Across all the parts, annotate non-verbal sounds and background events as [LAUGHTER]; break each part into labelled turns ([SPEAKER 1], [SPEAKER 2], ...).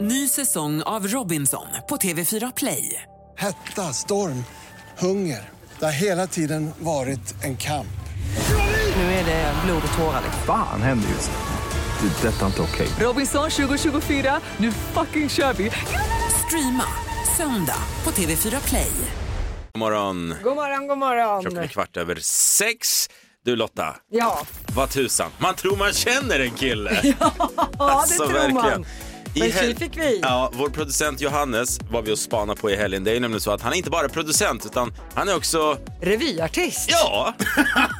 [SPEAKER 1] Ny säsong av Robinson på TV4 Play.
[SPEAKER 2] Hetta, storm, hunger. Det har hela tiden varit en kamp.
[SPEAKER 1] Nu är det blod och tårar.
[SPEAKER 3] Fan händer just nu. Det. är Detta är inte okej.
[SPEAKER 1] Robinson 2024, nu fucking kör vi! Streama söndag på TV4 Play.
[SPEAKER 4] God morgon.
[SPEAKER 5] God morgon, god morgon.
[SPEAKER 4] Klockan är kvart över sex. Du Lotta,
[SPEAKER 5] Ja,
[SPEAKER 4] vad tusan. Man tror man känner en kille. Ja,
[SPEAKER 5] [LAUGHS] ja
[SPEAKER 4] Alltså,
[SPEAKER 5] det tror man. Men tji fick vi.
[SPEAKER 4] Ja, vår producent Johannes var vi och spana på i helgen. Det är ju nämligen så att han är inte bara producent utan han är också...
[SPEAKER 5] Revyartist. [LAUGHS]
[SPEAKER 4] Ja!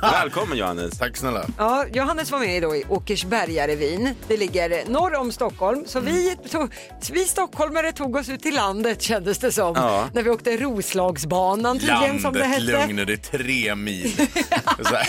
[SPEAKER 4] Välkommen Johannes.
[SPEAKER 6] Tack snälla.
[SPEAKER 5] Ja, Johannes var med då i Åkersbergarevyn. Det ligger norr om Stockholm. Så vi,
[SPEAKER 4] Mm.
[SPEAKER 5] tog, vi stockholmare tog oss ut till landet kändes det som.
[SPEAKER 4] Ja.
[SPEAKER 5] När vi åkte Roslagsbanan tydligen som det hette.
[SPEAKER 6] lugn, det är
[SPEAKER 5] [LAUGHS]
[SPEAKER 6] tre mil. Så här,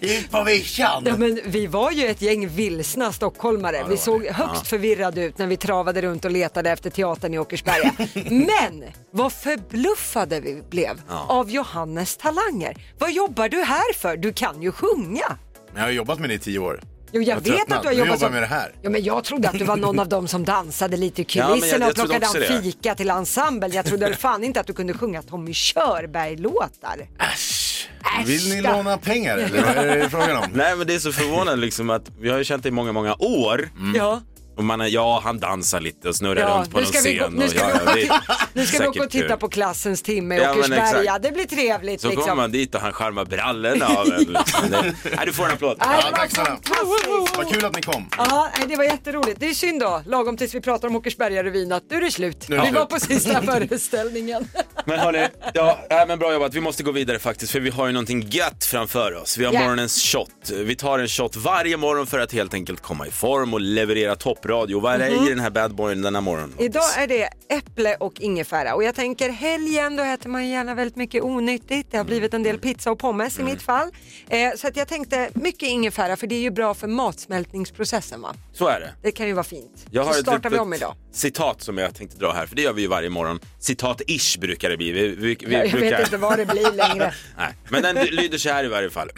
[SPEAKER 6] Ut på vischan!
[SPEAKER 5] Ja, men vi var ju ett gäng vilsna stockholmare. vi såg högst förvirrade ut när vi travade runt och letade efter teatern i
[SPEAKER 4] [LAUGHS]
[SPEAKER 5] Åkersberga. men vad förbluffade vi blev av Johannes talanger. Vad jobbar du här för? Du kan ju sjunga.
[SPEAKER 6] Jag har jobbat med det i tio år.
[SPEAKER 5] Jo, jag,
[SPEAKER 6] har
[SPEAKER 5] vet
[SPEAKER 6] tröttnat.
[SPEAKER 5] att du har
[SPEAKER 6] Nu
[SPEAKER 5] jobbat
[SPEAKER 6] jobbar
[SPEAKER 5] som...
[SPEAKER 6] med det här.
[SPEAKER 5] Ja, men jag trodde att du var någon av dem som dansade lite i
[SPEAKER 4] Ja, men
[SPEAKER 5] kulisserna
[SPEAKER 4] jag- jag
[SPEAKER 5] och
[SPEAKER 4] trodde
[SPEAKER 5] plockade
[SPEAKER 4] också
[SPEAKER 5] fram
[SPEAKER 4] det.
[SPEAKER 5] fika till ensemblen. Jag trodde fan inte att du kunde sjunga Tommy Körberg-låtar.
[SPEAKER 6] Mm. Äsch! Vill ni
[SPEAKER 5] Äsch, då.
[SPEAKER 6] låna pengar eller vad är det
[SPEAKER 5] [LAUGHS]
[SPEAKER 6] frågan om?
[SPEAKER 4] Nej men det är så förvånande liksom att vi har ju känt dig i många, många år.
[SPEAKER 5] Ja.
[SPEAKER 4] Och man är, ja han dansar lite och snurrar
[SPEAKER 5] Ja,
[SPEAKER 4] runt på
[SPEAKER 5] nu
[SPEAKER 4] någon
[SPEAKER 5] ska, vi gå,
[SPEAKER 4] scen.
[SPEAKER 5] nu, ska
[SPEAKER 4] och,
[SPEAKER 5] vi
[SPEAKER 4] ja,
[SPEAKER 5] åka,
[SPEAKER 4] det
[SPEAKER 5] till-
[SPEAKER 4] är
[SPEAKER 5] nu ska vi
[SPEAKER 4] säkert
[SPEAKER 5] åka och titta
[SPEAKER 6] eh,
[SPEAKER 4] kul.
[SPEAKER 5] på klassens timme i
[SPEAKER 4] Ja, men
[SPEAKER 5] Åkersberga.
[SPEAKER 4] exakt.
[SPEAKER 5] Det blir trevligt.
[SPEAKER 4] Så kommer
[SPEAKER 5] liksom.
[SPEAKER 4] man dit och han charmar brallorna av
[SPEAKER 5] [LAUGHS]
[SPEAKER 4] en. Liksom. Det- Nej, du får en applåd.
[SPEAKER 5] Nej,
[SPEAKER 6] Ja,
[SPEAKER 5] det var
[SPEAKER 6] tack snälla.
[SPEAKER 5] fantastiskt.
[SPEAKER 6] Vad kul att ni kom.
[SPEAKER 5] Ja, nej, det var jätteroligt. Det är synd då, lagom tills vi pratar om Åkersbergarevyn, att nu är det slut.
[SPEAKER 6] Nu är det
[SPEAKER 5] vi var
[SPEAKER 6] slut.
[SPEAKER 5] på
[SPEAKER 6] [LAUGHS]
[SPEAKER 5] sista föreställningen.
[SPEAKER 4] Men hörni, ja, nej, men bra jobbat. Vi måste gå vidare faktiskt för vi har ju någonting gött framför oss. Vi har
[SPEAKER 5] Ja.
[SPEAKER 4] morgonens shot. Vi tar en shot varje morgon för att helt enkelt komma i form och leverera toppradio. Vad är det i den här bad boyen denna morgon?
[SPEAKER 5] Mhm. Idag är det äpple och ingefära och jag tänker helgen då äter man ju gärna väldigt mycket onyttigt. Det har blivit en del pizza och pommes i mitt fall. Eh, så att jag tänkte mycket ingefära för det är ju bra för matsmältningsprocessen va.
[SPEAKER 4] Så är det.
[SPEAKER 5] Det kan ju vara fint.
[SPEAKER 4] Jag har
[SPEAKER 5] så
[SPEAKER 4] ett
[SPEAKER 5] startar vi
[SPEAKER 4] litet
[SPEAKER 5] om [LAUGHS] idag.
[SPEAKER 4] citat som jag tänkte dra här, för det gör vi ju varje morgon. Citat-ish brukar det bli. Vi, vi, vi
[SPEAKER 5] Jag
[SPEAKER 4] brukar...
[SPEAKER 5] vet inte vad det blir längre.
[SPEAKER 4] Nej, men den lyder så här i varje fall.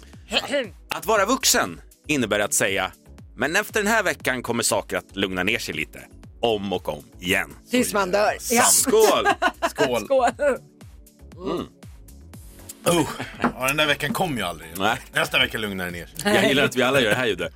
[SPEAKER 4] [CLEARS THROAT] att vara vuxen innebär att säga, men efter den här veckan kommer saker att lugna ner sig lite. Om och om igen.
[SPEAKER 5] [LAUGHS] Tills man dör. Ja.
[SPEAKER 4] Skål!
[SPEAKER 5] [LAUGHS]
[SPEAKER 6] Skål.
[SPEAKER 5] Skål.
[SPEAKER 6] Oh. Ja, den där veckan kom ju aldrig.
[SPEAKER 4] Nej.
[SPEAKER 6] Nästa vecka lugnar det ner sig.
[SPEAKER 4] Jag gillar att vi alla gör det här ljudet.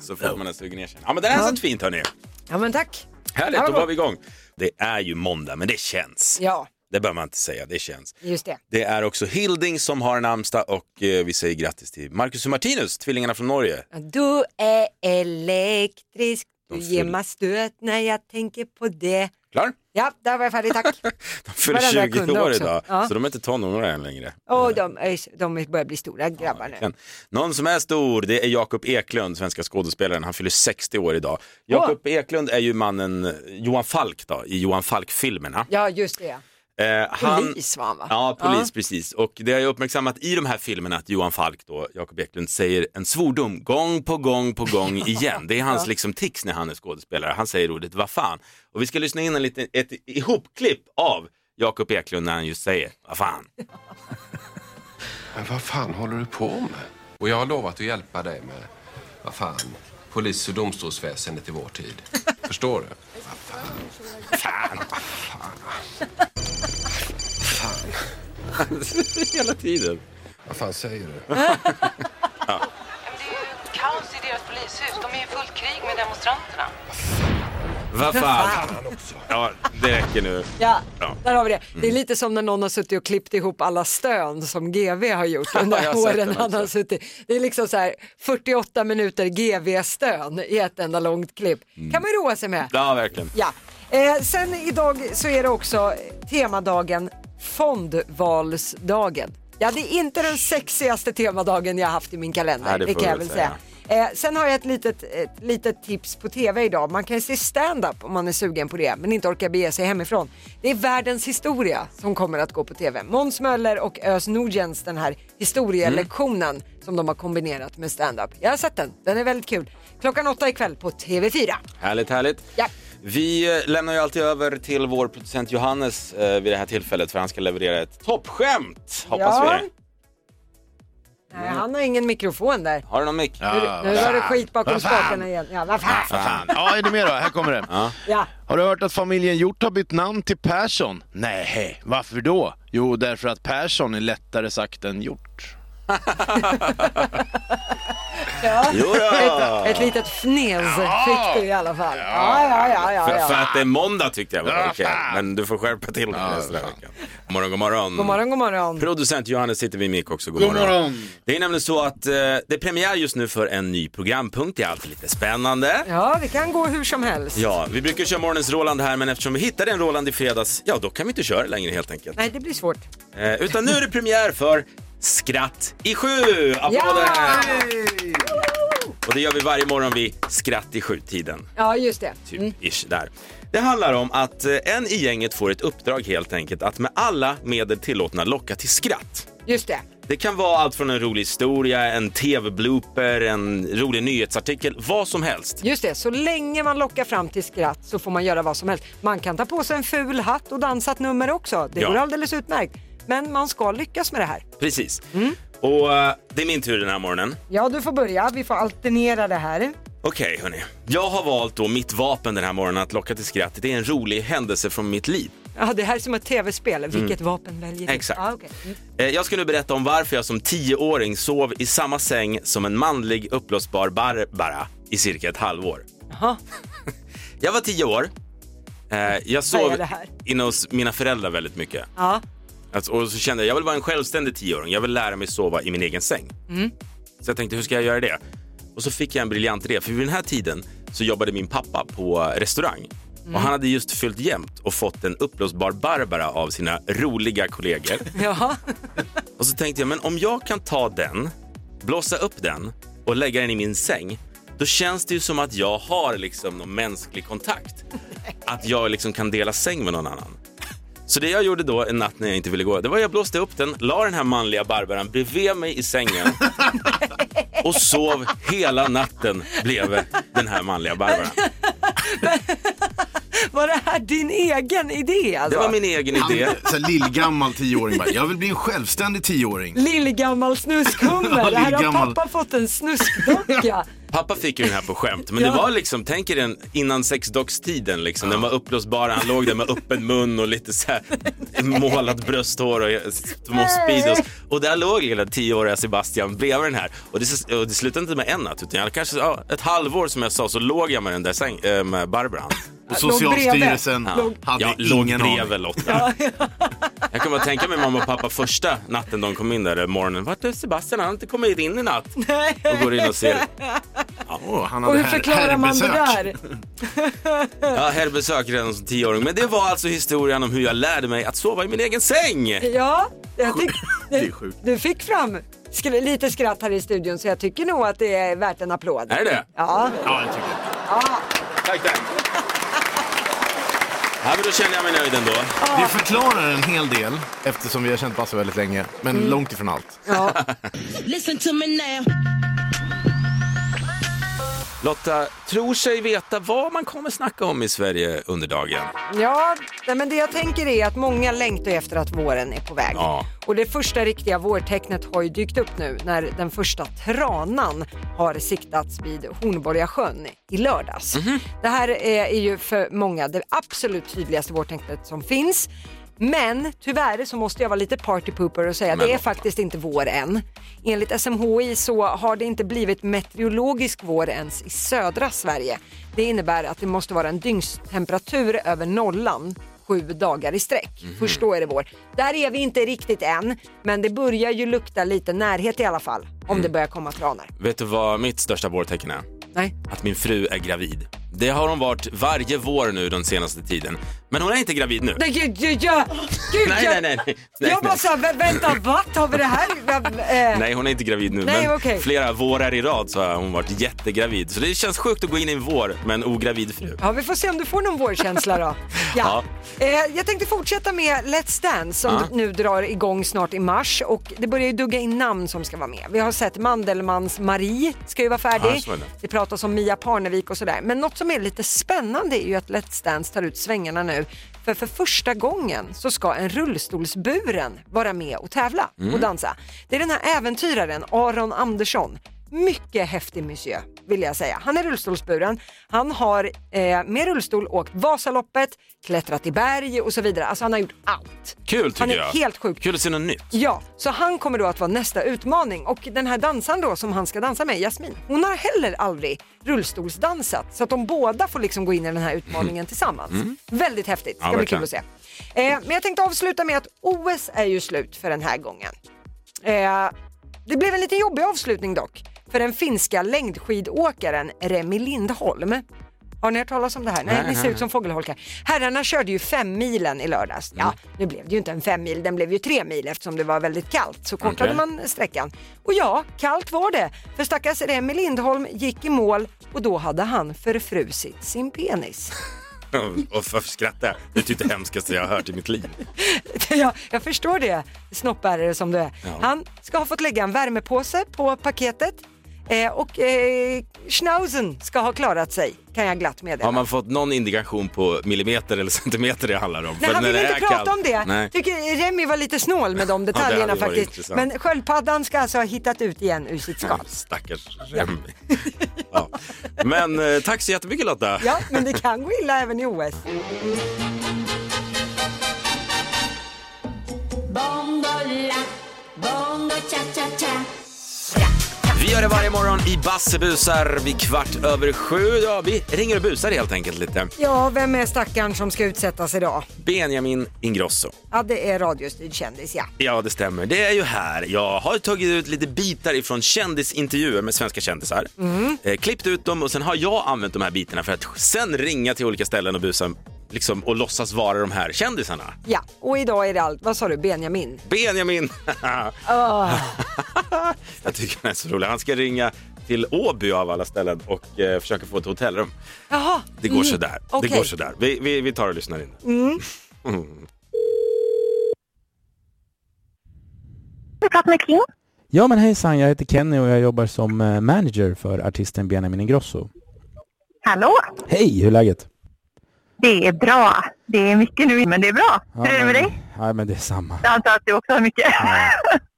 [SPEAKER 4] Så fort man har sugit ner sig. Ja men det här satt fint hörni.
[SPEAKER 5] Ja men tack.
[SPEAKER 4] Härligt,
[SPEAKER 5] Ja, vad
[SPEAKER 4] då var
[SPEAKER 5] bra.
[SPEAKER 4] vi igång. Det är ju måndag men det känns.
[SPEAKER 5] Ja,
[SPEAKER 4] Det behöver man inte säga, det känns.
[SPEAKER 5] just det.
[SPEAKER 4] Det är också Hilding som har namnsdag och eh, vi säger grattis till Marcus och Martinus, tvillingarna från Norge.
[SPEAKER 5] Du är elektrisk, du
[SPEAKER 4] De
[SPEAKER 5] ger
[SPEAKER 4] fyll-
[SPEAKER 5] mig stöt när jag tänker på det.
[SPEAKER 4] Klar?
[SPEAKER 5] Ja, där var jag färdig, tack. [LAUGHS]
[SPEAKER 4] De fyller
[SPEAKER 5] Varandra
[SPEAKER 4] 20
[SPEAKER 5] kunde
[SPEAKER 4] år
[SPEAKER 5] också.
[SPEAKER 4] idag,
[SPEAKER 5] Ja.
[SPEAKER 4] så de är inte tonåringar än längre.
[SPEAKER 5] Och de, är- de börjar bli stora grabbar nu.
[SPEAKER 4] Mm. Verkligen. Någon som är stor, det är Jakob Eklund, svenska skådespelaren. Han fyller 60 år idag. Jakob Eklund är ju mannen eh, Johan Falk då, i Johan Falk-filmerna.
[SPEAKER 5] Ja, just det.
[SPEAKER 4] Eh,
[SPEAKER 5] Polis var han va?
[SPEAKER 4] Ja, polis, precis. Och det har jag uppmärksammat i de här filmerna att Johan Falk, då, Jakob Eklund, säger en svordom gång på gång på
[SPEAKER 5] [LAUGHS]
[SPEAKER 4] gång igen. Det är hans liksom tics när han är skådespelare. Han säger ordet vad fan. Och vi ska lyssna in en liten, ett ihopklipp av Jakob Eklund när han just säger
[SPEAKER 5] [LAUGHS]
[SPEAKER 4] vad fan.
[SPEAKER 7] Men vad fan håller du på med? Och jag har lovat att hjälpa dig med, vad fan, polis och domstolsväsendet i vår tid. Förstår du?
[SPEAKER 4] Hela tiden.
[SPEAKER 7] Vad fan säger du?
[SPEAKER 8] Det är ju kaos i deras polishus. De är i fullt krig med demonstranterna.
[SPEAKER 4] Vad fan. Ja, det räcker nu.
[SPEAKER 5] Ja,
[SPEAKER 4] Ja. Mm.
[SPEAKER 5] där har vi det. Det är lite som när någon har suttit och klippt ihop alla stön som GV har
[SPEAKER 4] [LAUGHS]
[SPEAKER 5] gjort
[SPEAKER 4] jag
[SPEAKER 5] under
[SPEAKER 4] har sett
[SPEAKER 5] åren
[SPEAKER 4] den
[SPEAKER 5] han har
[SPEAKER 4] också.
[SPEAKER 5] suttit. Det är liksom så här 48 minuter GV-stön i ett enda långt klipp.
[SPEAKER 4] Mm.
[SPEAKER 5] kan man ju roa sig med.
[SPEAKER 4] Ja, verkligen.
[SPEAKER 5] Ja. Eh, sen idag så är det också temadagen fondvalsdagen. Ja, det är inte den sexigaste temadagen jag haft i min kalender,
[SPEAKER 4] Nej, det
[SPEAKER 5] det,
[SPEAKER 4] får
[SPEAKER 5] kan jag
[SPEAKER 4] vi
[SPEAKER 5] väl
[SPEAKER 4] väl
[SPEAKER 5] säga. Eh, sen har jag ett litet, ett litet tips på TV idag. Man kan ju se stand-up om man är sugen på det, men inte orkar bege sig hemifrån. Det är världens historia som kommer att gå på TV. Måns Möller och Ös Nordjens, den här historielektionen
[SPEAKER 4] Mm.
[SPEAKER 5] som de har kombinerat med stand-up. Jag har sett den, den är väldigt kul. Klockan åtta ikväll på TV4.
[SPEAKER 4] Härligt, härligt.
[SPEAKER 5] Ja.
[SPEAKER 4] Vi eh, lämnar ju alltid över till vår producent Johannes eh, vid det här tillfället för han ska leverera ett toppskämt, hoppas
[SPEAKER 5] Ja.
[SPEAKER 4] vi.
[SPEAKER 5] Nej, han har ingen mikrofon där.
[SPEAKER 4] Har du någon mick?
[SPEAKER 5] Nu,
[SPEAKER 6] Ja,
[SPEAKER 5] nu
[SPEAKER 6] vad
[SPEAKER 5] var det
[SPEAKER 6] fan.
[SPEAKER 5] skit bakom
[SPEAKER 6] Vad fan.
[SPEAKER 5] spakarna igen. Ja, vad fan.
[SPEAKER 6] Fan. Ja, är det mer då? Här kommer det.
[SPEAKER 5] Ja.
[SPEAKER 6] Har du hört att familjen Hjort har bytt namn till Persson? Nej, varför då? Jo, därför att Persson är lättare sagt än gjort.
[SPEAKER 4] Jo
[SPEAKER 6] [LAUGHS]
[SPEAKER 4] då.
[SPEAKER 5] Ett, ett litet fnez fick du i alla fall. Ja, ja, ja, ja,
[SPEAKER 4] För, för
[SPEAKER 5] ja.
[SPEAKER 4] att det är måndag tyckte jag var
[SPEAKER 6] Ja,
[SPEAKER 4] okej.
[SPEAKER 6] fan.
[SPEAKER 4] Men du får skärpa till dig nästa vecka. God morgon, god morgon.
[SPEAKER 5] God morgon, god morgon.
[SPEAKER 4] Producent Johannes sitter vid mick också. God, Det är nämligen så att eh, det är premiär just nu för en ny programpunkt. Det är alltid lite spännande.
[SPEAKER 5] Ja, det kan gå hur som helst.
[SPEAKER 4] Ja, vi brukar köra morgonens Roland här, men eftersom vi hittade en Roland i fredags, ja då kan vi inte köra längre helt enkelt.
[SPEAKER 5] Nej, det blir svårt.
[SPEAKER 4] Eh, utan nu är det premiär för Skratt i sju! Applåder!
[SPEAKER 5] Ja!
[SPEAKER 4] Och det gör vi varje morgon vid Skratt i sju-tiden.
[SPEAKER 5] Ja, just det.
[SPEAKER 4] Typ, ish, där. Det handlar om att eh, en i gänget får ett uppdrag helt enkelt att med alla medel tillåtna locka till skratt.
[SPEAKER 5] Just det.
[SPEAKER 4] Det kan vara allt från en rolig historia, en tv-blooper, en rolig nyhetsartikel, vad som helst.
[SPEAKER 5] Just det, så länge man lockar fram till skratt så får man göra vad som helst. Man kan ta på sig en ful hatt och dansa ett nummer också. Det
[SPEAKER 4] Ja.
[SPEAKER 5] går alldeles utmärkt. Men man ska lyckas med det här.
[SPEAKER 4] Precis.
[SPEAKER 5] Mm.
[SPEAKER 4] Och eh, det är min tur den här morgonen.
[SPEAKER 5] Ja, du får börja. Vi får alternera det här.
[SPEAKER 4] Okej hörni, jag har valt då mitt vapen den här morgonen att locka till skratt. Det är en rolig händelse från mitt liv.
[SPEAKER 5] Ja, det här är som ett tv-spel. Vilket vapen väljer du?
[SPEAKER 4] Exakt.
[SPEAKER 5] Ja, okej. Mm.
[SPEAKER 4] Eh, Jag ska nu berätta om varför jag som tioåring sov i samma säng som en manlig uppblåsbar Barbara i cirka ett halvår.
[SPEAKER 5] Jaha,
[SPEAKER 4] Jag var tio år. Eh, Jag
[SPEAKER 5] Vad är
[SPEAKER 4] sov
[SPEAKER 5] det här?
[SPEAKER 4] inne hos mina föräldrar väldigt mycket.
[SPEAKER 5] Ja.
[SPEAKER 4] Alltså, och så kände jag, jag vill vara en självständig tioåring. Jag vill lära mig sova i min egen säng. Så jag tänkte, hur ska jag göra det? Och så fick jag en briljant idé, för vid den här tiden så jobbade min pappa på restaurang. Och han hade just fyllt jämnt och fått en uppblåsbar Barbara av sina roliga kollegor.
[SPEAKER 5] Jaha.
[SPEAKER 4] Och så tänkte jag, men om jag kan ta den, blåsa upp den och lägga den i min säng, då känns det ju som att jag har liksom någon mänsklig kontakt. Att jag liksom kan dela säng med någon annan. Så det jag gjorde då en natt när jag inte ville gå, det var jag blåste upp den, la den här manliga Barbaran bredvid mig i sängen och sov hela natten bredvid den här manliga Barbaran.
[SPEAKER 5] Var det här din egen idé
[SPEAKER 4] Det
[SPEAKER 5] alltså?
[SPEAKER 4] var min egen idé.
[SPEAKER 6] Så här lillgammal tioåring bara, jag vill bli en självständig tioåring.
[SPEAKER 5] Lillgammal
[SPEAKER 6] [LAUGHS]
[SPEAKER 5] snuskhummer. Det här har
[SPEAKER 6] lillgammal.
[SPEAKER 5] pappa fått en
[SPEAKER 6] [LAUGHS]
[SPEAKER 5] snuskdocka.
[SPEAKER 4] Pappa fick ju den här på skämt, men det var liksom, tänk er den innan sexdockstiden liksom. Den var uppblåsbar, han låg där med öppen mun och lite så här målat brösthår och små speedos. Och där låg lilla tioåriga Sebastian bredvid den här. Och det, och det slutade inte med en natt, utan jag, kanske ja, ett halvår som jag sa så låg jag med den där säng, eh, med Barbara.
[SPEAKER 6] Och
[SPEAKER 5] Låg bredvid.
[SPEAKER 6] Socialstyrelsen
[SPEAKER 5] Låg-
[SPEAKER 6] hade
[SPEAKER 4] jag låg
[SPEAKER 6] ingen aning.
[SPEAKER 4] bredvid Lotta. Jag kan bara tänka mig mamma och pappa första natten de kom in där, eller morgonen. Vart är Sebastian? Han har inte kommit in i natt. Och går in och ser.
[SPEAKER 6] Åh, han
[SPEAKER 5] Och
[SPEAKER 6] hade
[SPEAKER 5] hur
[SPEAKER 6] här-
[SPEAKER 5] förklarar man det
[SPEAKER 6] herrbesök.
[SPEAKER 5] där?
[SPEAKER 4] Ja, herrbesök redan som tioåring. Men det var alltså historien om hur jag lärde mig att sova i min egen säng.
[SPEAKER 5] Ja, jag tyck,
[SPEAKER 6] [LAUGHS] är sjukt.
[SPEAKER 5] du fick fram skr- lite skratt här i studion så jag tycker nog att det är värt en applåd.
[SPEAKER 4] Är det det?
[SPEAKER 5] Ja,
[SPEAKER 6] Ja, jag tycker det.
[SPEAKER 4] Tack, tack. Ja, men då känner jag mig nöjd ändå.
[SPEAKER 6] Det förklarar en hel del eftersom vi har känt Basse väldigt länge, men långt ifrån allt.
[SPEAKER 5] Mm. ja.
[SPEAKER 9] Listen to me now.
[SPEAKER 4] Lotta tror sig veta vad man kommer snacka om i Sverige under dagen.
[SPEAKER 5] ja nej, men det jag tänker är att många längtar ju efter att våren är på väg.
[SPEAKER 4] Ja.
[SPEAKER 5] Och det första riktiga vårtecknet har ju dykt upp nu när den första tranan har siktats vid Hornborgasjön sjön i lördags. Det här är, är ju för många det absolut tydligaste vårtecknet som finns. Men tyvärr så måste jag vara lite party pooper och säga att det är faktiskt inte vår än. Enligt SMHI så har det inte blivit meteorologisk vår ens i södra Sverige. Det innebär att det måste vara en dygnstemperatur över nollan sju dagar i sträck.
[SPEAKER 4] Mhm.
[SPEAKER 5] Först då är det vår. Där är vi inte riktigt än, men det börjar ju lukta lite närhet i alla fall om
[SPEAKER 4] Mm.
[SPEAKER 5] det börjar komma tranar.
[SPEAKER 4] Vet du vad mitt största vårtecken är?
[SPEAKER 5] Nej.
[SPEAKER 4] Att min fru är gravid. Det har hon varit varje vår nu den senaste tiden. Men hon är inte gravid nu.
[SPEAKER 5] Nej, gud, gud, jag, gud,
[SPEAKER 4] Nej,
[SPEAKER 5] jag,
[SPEAKER 4] nej, nej, nej.
[SPEAKER 5] jag bara
[SPEAKER 4] Nej.
[SPEAKER 5] såhär, vä-
[SPEAKER 4] [LAUGHS]
[SPEAKER 5] vänta, vad har vi det här? Eh,
[SPEAKER 4] Nej, hon är inte gravid nu.
[SPEAKER 5] Nej,
[SPEAKER 4] men
[SPEAKER 5] okej.
[SPEAKER 4] flera vårar i rad så har hon varit jättegravid. Så det känns sjukt att gå in i en vår med en ogravid fru.
[SPEAKER 5] Ja, vi får se om du får någon vårkänsla
[SPEAKER 4] [LAUGHS]
[SPEAKER 5] då. Ja. Eh, jag tänkte fortsätta med Let's Dance som
[SPEAKER 4] Ja.
[SPEAKER 5] nu drar igång snart i mars och det börjar ju dugga in namn som ska vara med. Vi har sett Mandelmans Marie ska ju vara
[SPEAKER 4] Ja,
[SPEAKER 5] färdig.
[SPEAKER 4] så är det.
[SPEAKER 5] det pratas om Mia Parnevik och sådär. Men något som är lite spännande är ju att Let's Dance tar ut svängarna nu För för första gången så ska en rullstolsburen vara med och tävla
[SPEAKER 4] Mm.
[SPEAKER 5] och dansa. Det är den här äventyraren Aron Andersson. Mycket häftig monsieur vill jag säga. Han är rullstolsburen. Han har eh, med rullstol åkt Vasaloppet, klättrat i berg och så vidare. Alltså han har gjort allt.
[SPEAKER 4] Kul tycker
[SPEAKER 5] Han är
[SPEAKER 4] jag.
[SPEAKER 5] helt sjuk.
[SPEAKER 4] Kul att se något nytt.
[SPEAKER 5] Ja, så han kommer då att vara nästa utmaning och den här dansaren då som han ska dansa med, Jasmin, hon har heller aldrig rullstolsdansat så att de båda får liksom gå in i den här utmaningen tillsammans. Väldigt häftigt, ska
[SPEAKER 4] Mm. Ja,
[SPEAKER 5] bli
[SPEAKER 4] verkligen.
[SPEAKER 5] kul att se. Eh, men jag tänkte avsluta med att OS är ju slut för den här gången. Eh, det blev en lite jobbig avslutning dock för den finska längdskidåkaren Remi Lindholm. Har ni hört talas om det här? Nej,
[SPEAKER 4] Nej,
[SPEAKER 5] ni ser
[SPEAKER 4] nej,
[SPEAKER 5] ut som fågelholkar. Herrarna körde ju fem milen i lördags.
[SPEAKER 4] Mm.
[SPEAKER 5] Ja, nu blev det ju inte en fem mil, den blev ju tre mil eftersom det var väldigt kallt. Så kortade
[SPEAKER 4] Okej.
[SPEAKER 5] man sträckan. Och ja, kallt var det. För stackars Remi Lindholm gick i mål och då hade han förfrusit sin penis.
[SPEAKER 4] Och varför skrattar jag? Det är typ det hemskaste jag har hört i mitt liv.
[SPEAKER 5] [LAUGHS] ja, jag förstår det, snoppbärare som du är. Han ska ha fått lägga en värmepåse på paketet eh, och eh, schnauzen ska ha klarat sig, kan jag glatt meddela.
[SPEAKER 4] Har man fått någon indikation på millimeter eller centimeter det handlar om?
[SPEAKER 5] Nej,
[SPEAKER 4] För
[SPEAKER 5] han
[SPEAKER 4] när
[SPEAKER 5] ville
[SPEAKER 4] det
[SPEAKER 5] inte
[SPEAKER 4] är
[SPEAKER 5] prata
[SPEAKER 4] kallt-
[SPEAKER 5] om det.
[SPEAKER 4] Nej.
[SPEAKER 5] Tycker Remi var lite
[SPEAKER 4] [LAUGHS]
[SPEAKER 5] snål med de
[SPEAKER 4] det hade
[SPEAKER 5] detaljerna
[SPEAKER 4] varit
[SPEAKER 5] faktiskt.
[SPEAKER 4] intressant.
[SPEAKER 5] Men sköldpaddan ska alltså ha hittat ut igen ur sitt
[SPEAKER 4] [LAUGHS]
[SPEAKER 5] skal.
[SPEAKER 4] Stackars Remi. Ja. Men eh, tack så jättemycket Lotta.
[SPEAKER 5] Ja, men det kan gå illa även i OS.
[SPEAKER 9] Bongola, bongo cha cha cha.
[SPEAKER 4] Vi gör det varje morgon i Bassebusar vid kvart över sju. Ja, vi ringer och busar helt enkelt lite.
[SPEAKER 5] Ja, vem är stackaren som ska utsättas idag?
[SPEAKER 4] Benjamin Ingrosso.
[SPEAKER 5] Ja, det är radiostyrd kändis, ja.
[SPEAKER 4] Ja, det stämmer. Det är ju här. Jag har tagit ut lite bitar ifrån kändisintervjuer med svenska kändisar.
[SPEAKER 5] Mm.
[SPEAKER 4] Eh, klippt ut dem och sen har jag använt de här bitarna för att sen ringa till olika ställen och busa liksom, och låtsas vara de här kändisarna.
[SPEAKER 5] Ja, och idag är det allt. Vad sa du, Benjamin?
[SPEAKER 4] Benjamin! [LAUGHS] Jag tycker han är så rolig. Han ska ringa till Åby av alla ställen och eh, försöka få ett hotellrum.
[SPEAKER 5] Jaha. Mm.
[SPEAKER 4] Det går sådär.
[SPEAKER 5] Okej.
[SPEAKER 4] Det går sådär. Vi, vi, vi tar och lyssnar in.
[SPEAKER 10] Ja men hejsan, jag heter Kenny och jag jobbar som eh, manager för artisten Benjamin Ingrosso.
[SPEAKER 11] Hallå!
[SPEAKER 10] Hej, hur är läget?
[SPEAKER 11] Det är bra. Det är mycket nu, men det är bra. Hur är det med dig?
[SPEAKER 10] Ja men det är samma.
[SPEAKER 11] Jag antar att du också har mycket. [LAUGHS]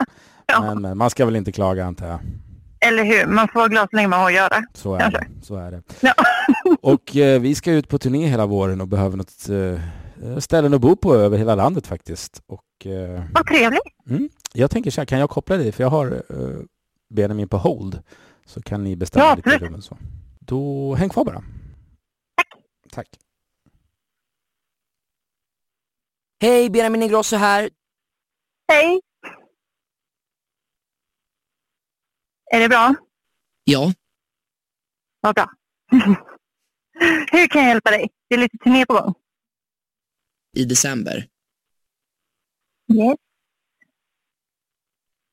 [SPEAKER 11] Ja.
[SPEAKER 10] Men, men man ska väl inte klaga antar jag.
[SPEAKER 11] Eller hur? Man får vara glad så länge man har att göra.
[SPEAKER 10] Så är
[SPEAKER 11] Kanske.
[SPEAKER 10] det. Så är det.
[SPEAKER 11] Ja.
[SPEAKER 10] [LAUGHS] Och eh, vi ska ut på turné hela våren och behöver något eh, ställen att bo på över hela landet faktiskt. Och eh, mm,
[SPEAKER 11] Vad trevligt.
[SPEAKER 10] jag tänker så här, kan jag koppla dig? För jag har eh, Benjamin på hold. Så kan ni bestämma
[SPEAKER 11] Ja,
[SPEAKER 10] lite
[SPEAKER 11] absolut.
[SPEAKER 10] rum och så. Då häng kvar bara. Tack. Tack.
[SPEAKER 12] Hej, Benjamin Ingrosso här.
[SPEAKER 11] Hej! Är det bra?
[SPEAKER 12] Ja,
[SPEAKER 11] Vad bra. hur kan jag hjälpa dig? Det är lite turné på gång.
[SPEAKER 12] i december.
[SPEAKER 11] Yes.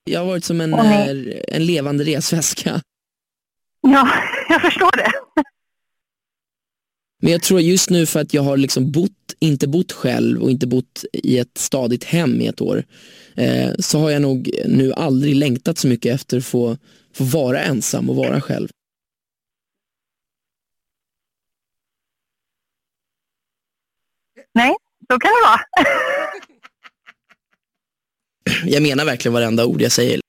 [SPEAKER 12] Jag har varit som en,
[SPEAKER 11] Åh, nej.
[SPEAKER 12] eh, en levande resväska.
[SPEAKER 11] Ja, [LAUGHS] jag förstår det.
[SPEAKER 12] Men jag tror just nu för att jag har liksom bott, inte bott själv och inte bott i ett stadigt hem i ett år, eh, så har jag nog nu aldrig längtat så mycket efter att få, få vara ensam och vara själv.
[SPEAKER 11] Nej, så kan det vara. [LAUGHS]
[SPEAKER 12] Jag menar verkligen varenda ord jag säger.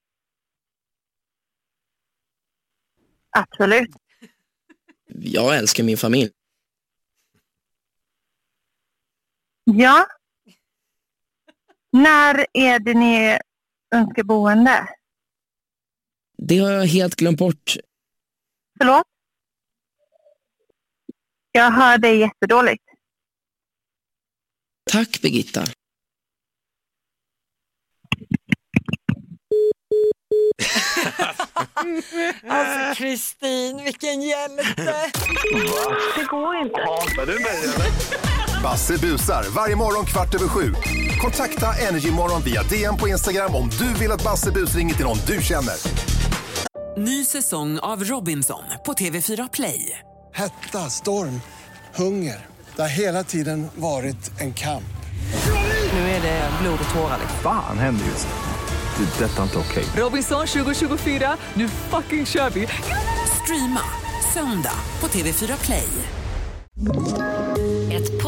[SPEAKER 11] Absolut.
[SPEAKER 12] Jag älskar min familj.
[SPEAKER 11] Ja. När är det ni önskar boende?
[SPEAKER 12] Det har jag helt glömt bort.
[SPEAKER 11] Förlåt? Jag hör dig jättedåligt.
[SPEAKER 12] Tack Birgitta.
[SPEAKER 5] Alltså, Kristin, vilken hjälte!
[SPEAKER 11] Det går inte.
[SPEAKER 13] Basse busar varje morgon kvart över sju. Kontakta Energymorgon via DM på Instagram om du vill att Basse bus ringer till någon du känner.
[SPEAKER 1] Ny säsong av Robinson på TV4 Play.
[SPEAKER 2] Hetta, storm, hunger. Det har hela tiden varit en kamp.
[SPEAKER 1] Nu är det blod och tårar. liksom.
[SPEAKER 3] Fan händer just nu. Det. är Detta är inte okej.
[SPEAKER 1] Robinson 2024, nu fucking kör vi! Streama söndag på TV4 Play.
[SPEAKER 14] Ett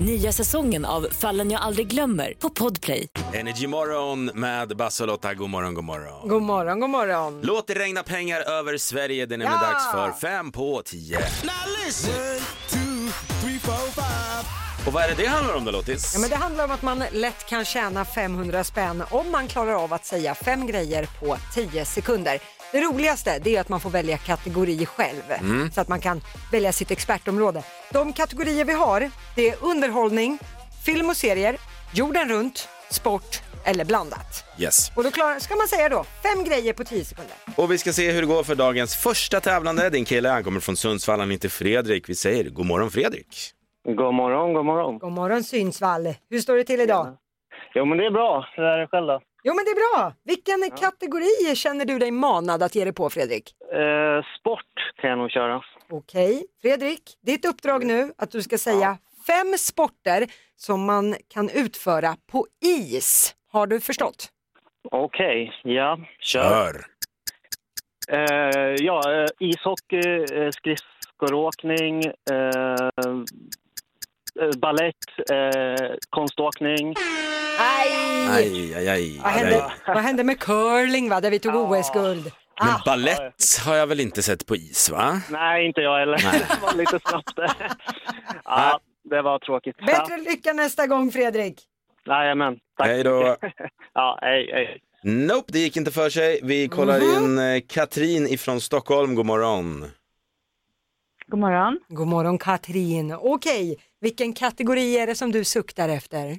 [SPEAKER 14] Nya säsongen av Fallen jag aldrig glömmer på Podplay.
[SPEAKER 4] Energy morgon med Basse och Lotta. God morgon, god morgon.
[SPEAKER 5] God morgon, god morgon.
[SPEAKER 4] Låt det regna pengar över Sverige. Det är nämligen
[SPEAKER 5] Ja!
[SPEAKER 4] dags för fem på tio. Och vad är det det handlar om då Lottis?
[SPEAKER 5] Ja, men det handlar om att man lätt kan tjäna 500 spänn om man klarar av att säga fem grejer på 10 sekunder. Det roligaste det är att man får välja kategori själv
[SPEAKER 15] Mm.
[SPEAKER 5] så att man kan välja sitt expertområde. De kategorier vi har det är underhållning, film och serier, jorden runt, sport eller blandat.
[SPEAKER 4] Yes.
[SPEAKER 5] Och då klarar, ska man säga då fem grejer på 10 sekunder.
[SPEAKER 4] Och vi ska se hur det går för dagens första tävlande. Din kille, han kommer från Sundsvall, han heter Fredrik. Vi säger god morgon Fredrik.
[SPEAKER 16] God morgon, god morgon.
[SPEAKER 5] God morgon Synsvall, hur står det till idag?
[SPEAKER 16] Jo, men det är bra. Hur är det själv då?
[SPEAKER 5] Jo men det är bra. Vilken kategori känner du dig manad att ge dig på Fredrik?
[SPEAKER 16] Eh, sport kan jag nog köra.
[SPEAKER 5] Okej, Fredrik, ditt uppdrag nu att du ska säga fem sporter som man kan utföra på is. Har du förstått?
[SPEAKER 16] Okej, ja, kör.
[SPEAKER 4] Kör.
[SPEAKER 16] Eh, ja, eh, ishockey, eh, skridskoåkning, eh, eh, balett, eh, konståkning.
[SPEAKER 5] Aj!
[SPEAKER 4] Aj, aj, aj.
[SPEAKER 5] Vad, hände, vad hände med curling va, där vi tog OS-guld?
[SPEAKER 4] Men ballett har jag väl inte sett på is va?
[SPEAKER 16] Nej, inte jag heller.
[SPEAKER 4] Nej.
[SPEAKER 16] [LAUGHS] det var lite snabbt. [LAUGHS] ja, det var tråkigt.
[SPEAKER 5] Bättre lycka nästa gång Fredrik!
[SPEAKER 16] Ja, jajamän, tack.
[SPEAKER 4] Hej då.
[SPEAKER 16] ja, hej, hej.
[SPEAKER 4] Nope, det gick inte för sig. Vi kollar
[SPEAKER 11] Mhm.
[SPEAKER 4] in eh, Katrin ifrån Stockholm. God morgon.
[SPEAKER 5] God morgon. God morgon Katrin. Okej, vilken kategori är det som du suktar efter?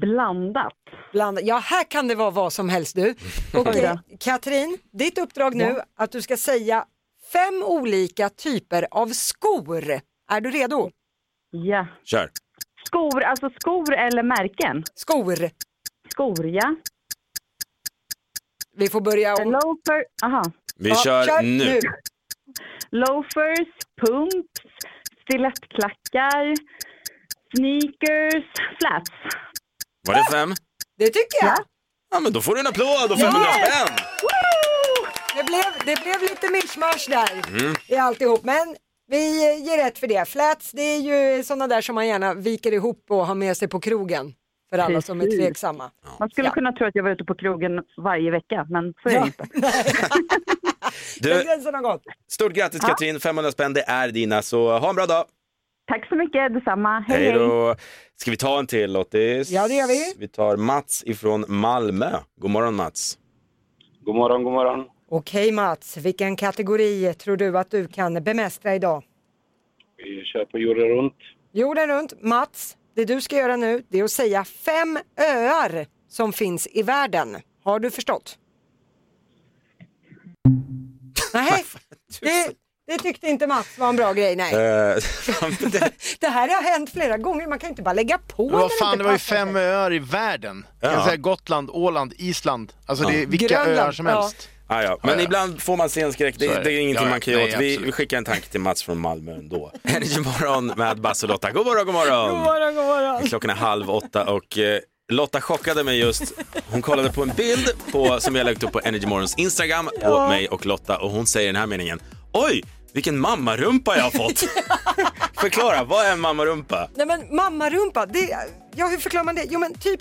[SPEAKER 5] Blandat. Blandat. Ja, här kan det vara vad som helst du. Och,
[SPEAKER 11] Oj då.
[SPEAKER 5] eh, Katrin, ditt uppdrag nu
[SPEAKER 11] Ja.
[SPEAKER 5] att du ska säga fem olika typer av skor. Är du redo?
[SPEAKER 11] Ja.
[SPEAKER 4] Kör.
[SPEAKER 11] Skor, alltså skor eller märken?
[SPEAKER 5] Skor.
[SPEAKER 11] Skor, ja.
[SPEAKER 5] Vi får börja om.
[SPEAKER 11] Loafer, aha.
[SPEAKER 4] Vi kör, nu.
[SPEAKER 11] Loafers, pumps, stilettklackar, sneakers, flats.
[SPEAKER 4] Var det fem?
[SPEAKER 5] Det tycker jag.
[SPEAKER 4] Ja, men då får du en applåd och 500
[SPEAKER 5] Ja.
[SPEAKER 4] spänn.
[SPEAKER 5] Det blev, det blev lite mischmasch där
[SPEAKER 4] Mm.
[SPEAKER 5] i alltihop. Men vi ger rätt för det. Flats, det är ju sådana där som man gärna viker ihop och har med sig på krogen. För alla som är
[SPEAKER 11] Precis.
[SPEAKER 5] tveksamma.
[SPEAKER 11] Man skulle
[SPEAKER 5] Ja.
[SPEAKER 11] kunna tro att jag var ute på krogen varje vecka, men så är det inte.
[SPEAKER 4] Du,
[SPEAKER 5] gränsen har gått.
[SPEAKER 4] stort grattis
[SPEAKER 11] Ja.
[SPEAKER 4] Katrin, 500 spänn det är dina så eh, ha en bra dag.
[SPEAKER 11] Tack så mycket, detsamma. Hej,
[SPEAKER 4] Hej
[SPEAKER 11] hej.
[SPEAKER 4] då. Ska vi ta en till Lottis?
[SPEAKER 11] Ja, det gör vi.
[SPEAKER 4] Vi tar Mats ifrån Malmö. God morgon Mats.
[SPEAKER 17] God morgon, god morgon.
[SPEAKER 5] Okej Mats, vilken kategori tror du att du kan bemästra idag?
[SPEAKER 17] Vi kör på jorden runt.
[SPEAKER 5] Jorden runt. Mats, det du ska göra nu det är att säga fem öar som finns i världen. Har du förstått? Nej, det, det tyckte inte Mats var en bra grej. Nej.
[SPEAKER 4] Eh, [LAUGHS]
[SPEAKER 5] Det här har hänt flera gånger, man kan inte bara lägga på
[SPEAKER 6] Men
[SPEAKER 5] när
[SPEAKER 6] vad
[SPEAKER 5] det
[SPEAKER 6] fan,
[SPEAKER 5] inte
[SPEAKER 6] det var ju
[SPEAKER 5] passar
[SPEAKER 6] fem
[SPEAKER 5] sig.
[SPEAKER 6] öar i världen. Jag
[SPEAKER 4] Ja.
[SPEAKER 6] kan säga Gotland, Åland, Island. Alltså det är
[SPEAKER 4] Ja.
[SPEAKER 6] vilka
[SPEAKER 4] Grönland,
[SPEAKER 6] öar som
[SPEAKER 4] ja.
[SPEAKER 6] helst.
[SPEAKER 4] Ah, ja. Men ibland får man se en skräck, det,
[SPEAKER 6] Så är
[SPEAKER 4] det.
[SPEAKER 6] det.
[SPEAKER 4] är ingenting
[SPEAKER 6] Ja, ja.
[SPEAKER 4] man kan göra
[SPEAKER 6] Nej,
[SPEAKER 4] åt. Vi,
[SPEAKER 6] absolut.
[SPEAKER 4] vi skickar en tanke till Mats från Malmö ändå. [LAUGHS] Energy morgon med Basse och Lotta. God morgon, god morgon.
[SPEAKER 5] God morgon, god morgon.
[SPEAKER 4] Klockan är halv åtta och eh, Lotta chockade mig just. Hon kollade på en bild på, som jag lagt upp på Energy Morgons Instagram på
[SPEAKER 5] Ja.
[SPEAKER 4] mig och Lotta och hon säger den här meningen. Oj, vilken mammarumpa jag har
[SPEAKER 5] [LAUGHS]
[SPEAKER 4] fått. Förklara, vad är en mammarumpa?
[SPEAKER 5] Nej men mammarumpa, det, ja, hur förklarar man det? Jo men typ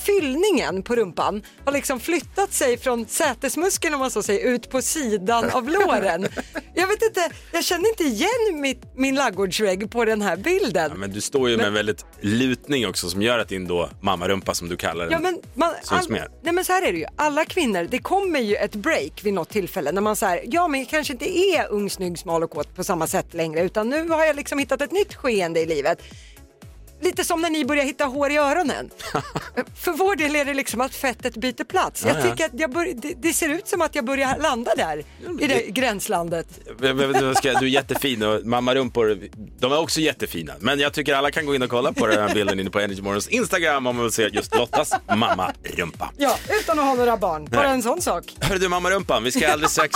[SPEAKER 5] fyllningen på rumpan har liksom flyttat sig från sätesmuskeln om man så säger ut på sidan av låren. Jag vet inte, jag känner inte igen mitt, min laggårdsvägg på den här bilden.
[SPEAKER 4] Men du står ju med en väldigt lutning också som gör att din då mammarumpa som du kallar den
[SPEAKER 5] Ja, men man,
[SPEAKER 4] syns mer.
[SPEAKER 5] nej men så här är det ju, alla kvinnor, det kommer ju ett break vid något tillfälle när man säger ja men jag kanske inte är ung, snygg, smal och kåt på samma sätt längre utan nu har jag liksom hittat ett nytt skeende i livet. lite som när ni börjar hitta hår i öronen. För vår del är det liksom att fettet byter plats.
[SPEAKER 4] Ja,
[SPEAKER 5] Jag
[SPEAKER 4] ja.
[SPEAKER 5] tycker att jag bör, det, det ser ut som att jag börjar landa där, i det gränslandet.
[SPEAKER 4] Men- men- men vad ska jag- Du är jättefin och mamma rumpor, de är också jättefina. Men jag tycker alla kan gå in och kolla på den här bilden inne på Energy Morgons Instagram om man vill se just Lottas mamma rumpa.
[SPEAKER 5] Ja, utan att ha några barn. Bara
[SPEAKER 4] Nej.
[SPEAKER 5] en sån sak.
[SPEAKER 4] Hörru du mamma rumpan, vi ska alldeles strax...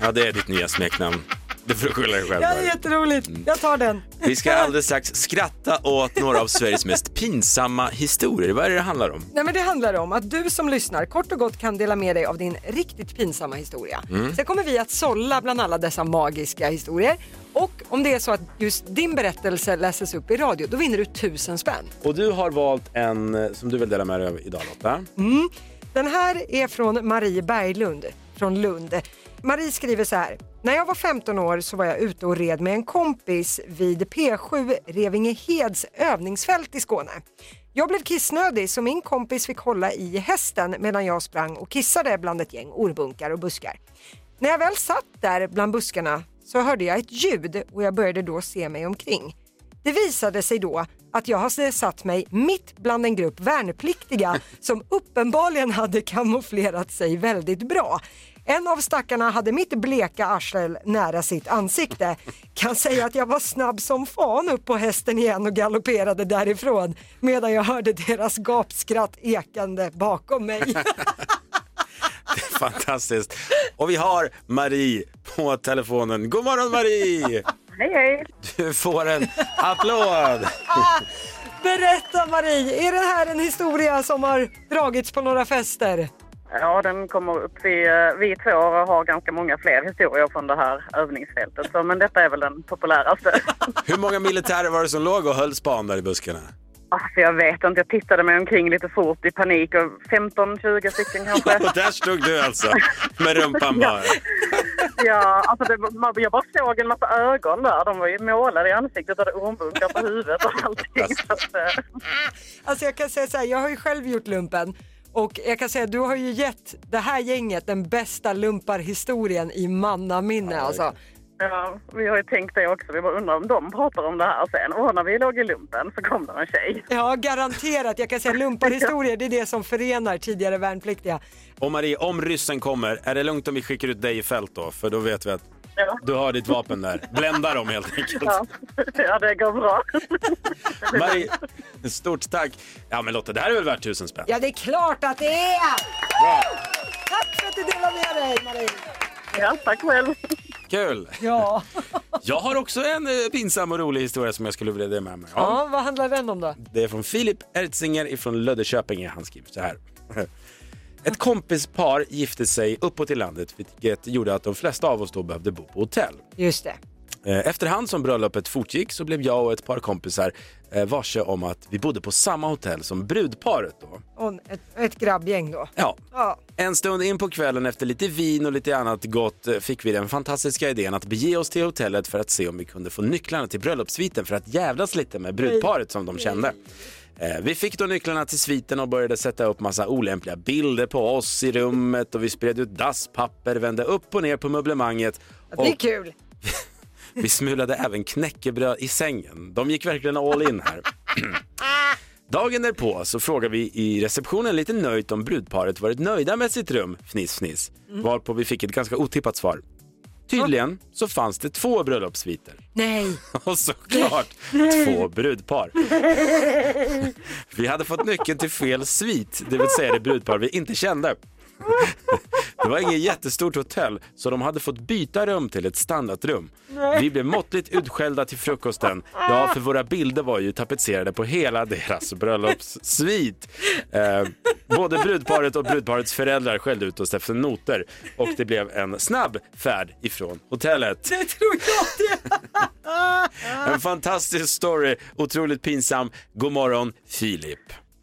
[SPEAKER 4] Ja, det är ditt nya smeknamn. Du får skylla dig själv.
[SPEAKER 5] Ja, det är
[SPEAKER 4] Marie.
[SPEAKER 5] jätteroligt. Jag tar den.
[SPEAKER 4] Vi ska alldeles strax skratta åt några av Sveriges mest pinsamma historier. Vad är det det handlar om?
[SPEAKER 5] Nej, men det handlar om att du som lyssnar kort och gott kan dela med dig av din riktigt pinsamma historia.
[SPEAKER 4] Mm.
[SPEAKER 5] Sen kommer vi att sålla bland alla dessa magiska historier. Och om det är så att just din berättelse läses upp i radio, då vinner du tusen spänn.
[SPEAKER 4] Och du har valt en eh, som du vill dela med dig av idag Lotta.
[SPEAKER 5] Mm. Den här är från Marie Berglund från Lund. Marie skriver så här. När jag var 15 år så var jag ute och red med en kompis vid P7 Revingeheds övningsfält i Skåne. Jag blev kissnödig så min kompis fick hålla i hästen medan jag sprang och kissade bland ett gäng orbunkar och buskar. När jag väl satt där bland buskarna så hörde jag ett ljud och jag började då se mig omkring. Det visade sig då att jag hade satt mig mitt bland en grupp värnpliktiga som uppenbarligen hade kamouflerat sig väldigt bra. En av stackarna hade mitt bleka arsel nära sitt ansikte. Kan säga att jag var snabb som fan upp på hästen igen och galopperade därifrån medan jag hörde deras gapskratt ekande bakom mig.
[SPEAKER 4] Fantastiskt. Och vi har Marie på telefonen. God morgon Marie!
[SPEAKER 11] Hej, hej.
[SPEAKER 4] Du får en applåd.
[SPEAKER 5] Berätta Marie, är det här en historia som har dragits på några fester?
[SPEAKER 11] Ja, den kommer upp. Vi, eh, vi två har ganska många fler historier från det här övningsfältet, så, men detta är väl den
[SPEAKER 4] [LAUGHS]
[SPEAKER 11] populäraste.
[SPEAKER 4] Hur många militärer var det som låg och höll span där i buskarna?
[SPEAKER 11] Alltså, jag vet inte, jag tittade mig omkring lite fort i panik. och 15-20 stycken kanske.
[SPEAKER 4] [LAUGHS] Och där stod du alltså med rumpan bara.
[SPEAKER 11] Ja, alltså det, var- man- jag bara såg en massa ögon där. De var ju målade i ansiktet och hade ormbunkar på huvudet och allting. Så att, eh,
[SPEAKER 5] Alltså jag kan säga så här, jag har ju själv gjort lumpen och jag kan säga du har ju gett det här gänget den bästa lumparhistorien i mannaminne alltså.
[SPEAKER 11] ja, vi har ju tänkt det också. Vi bara undrar om de pratar om det här sen. Och när vi låg i lumpen så kom det en tjej.
[SPEAKER 5] Ja, garanterat. Jag kan säga lumparhistorier, det är det som förenar tidigare värnpliktiga.
[SPEAKER 4] Och Marie, om ryssen kommer, är det lugnt om vi skickar ut dig i fält då? För då vet vi att
[SPEAKER 11] Ja.
[SPEAKER 4] du har ditt vapen där. Blända dem
[SPEAKER 11] [LAUGHS]
[SPEAKER 4] helt enkelt.
[SPEAKER 11] Ja, ja det går
[SPEAKER 4] [LAUGHS]
[SPEAKER 11] bra.
[SPEAKER 4] Marie, stort tack. Ja men Lotta, det här är väl värt tusen spänn?
[SPEAKER 5] Ja, det är klart att det är! Tack för att du delar med dig Marie!
[SPEAKER 11] Ja, tack själv.
[SPEAKER 4] Kul!
[SPEAKER 5] Ja.
[SPEAKER 4] Jag har också en eh, pinsam och rolig historia som jag skulle vilja dela med mig av.
[SPEAKER 5] ja, vad handlar den om då?
[SPEAKER 4] Det är från Filip Ertzinger från Löddeköpinge. Han skriver så här. Ett kompispar gifte sig uppåt i landet vilket gjorde att de flesta av oss då behövde bo på hotell.
[SPEAKER 5] Just det.
[SPEAKER 4] Eh, Efterhand som bröllopet fortgick så blev jag och ett par kompisar eh, varse om att vi bodde på samma hotell som brudparet. Då.
[SPEAKER 5] Och ett, ett grabbgäng då.
[SPEAKER 4] Ja.
[SPEAKER 5] Ja.
[SPEAKER 4] En stund in på kvällen efter lite vin och lite annat gott eh, fick vi den fantastiska idén att bege oss till hotellet för att se om vi kunde få nycklarna till bröllopssviten för att jävlas lite med brudparet som de kände. Eh, Vi fick då nycklarna till sviten och började sätta upp massa olämpliga bilder på oss i rummet och vi spred ut dasspapper, vände upp och ner på möblemanget.
[SPEAKER 5] Det är
[SPEAKER 4] och-
[SPEAKER 5] kul.
[SPEAKER 4] vi smulade även knäckebröd i sängen. De gick verkligen all in här. [CLEARS THROAT] Dagen därpå så frågar vi i receptionen lite nöjt om brudparet varit nöjda med sitt rum, fniss fniss. Varpå vi fick ett ganska otippat svar. Tydligen så fanns det två bröllopssviter.
[SPEAKER 5] Nej.
[SPEAKER 4] [LAUGHS] Och såklart två brudpar. Vi hade fått nyckeln till fel svit, det vill säga det brudpar vi inte kände. Det var inget jättestort hotell, så de hade fått byta rum till ett standardrum.
[SPEAKER 15] Nej.
[SPEAKER 4] Vi blev måttligt utskällda till frukosten. Ja, för våra bilder var ju tapetserade på hela deras bröllopssvit. Eh, både brudparet och brudparets föräldrar skällde ut oss efter noter och det blev en snabb färd ifrån hotellet.
[SPEAKER 5] Det tror jag det.
[SPEAKER 4] En fantastisk story, otroligt pinsam. God morgon, Filip.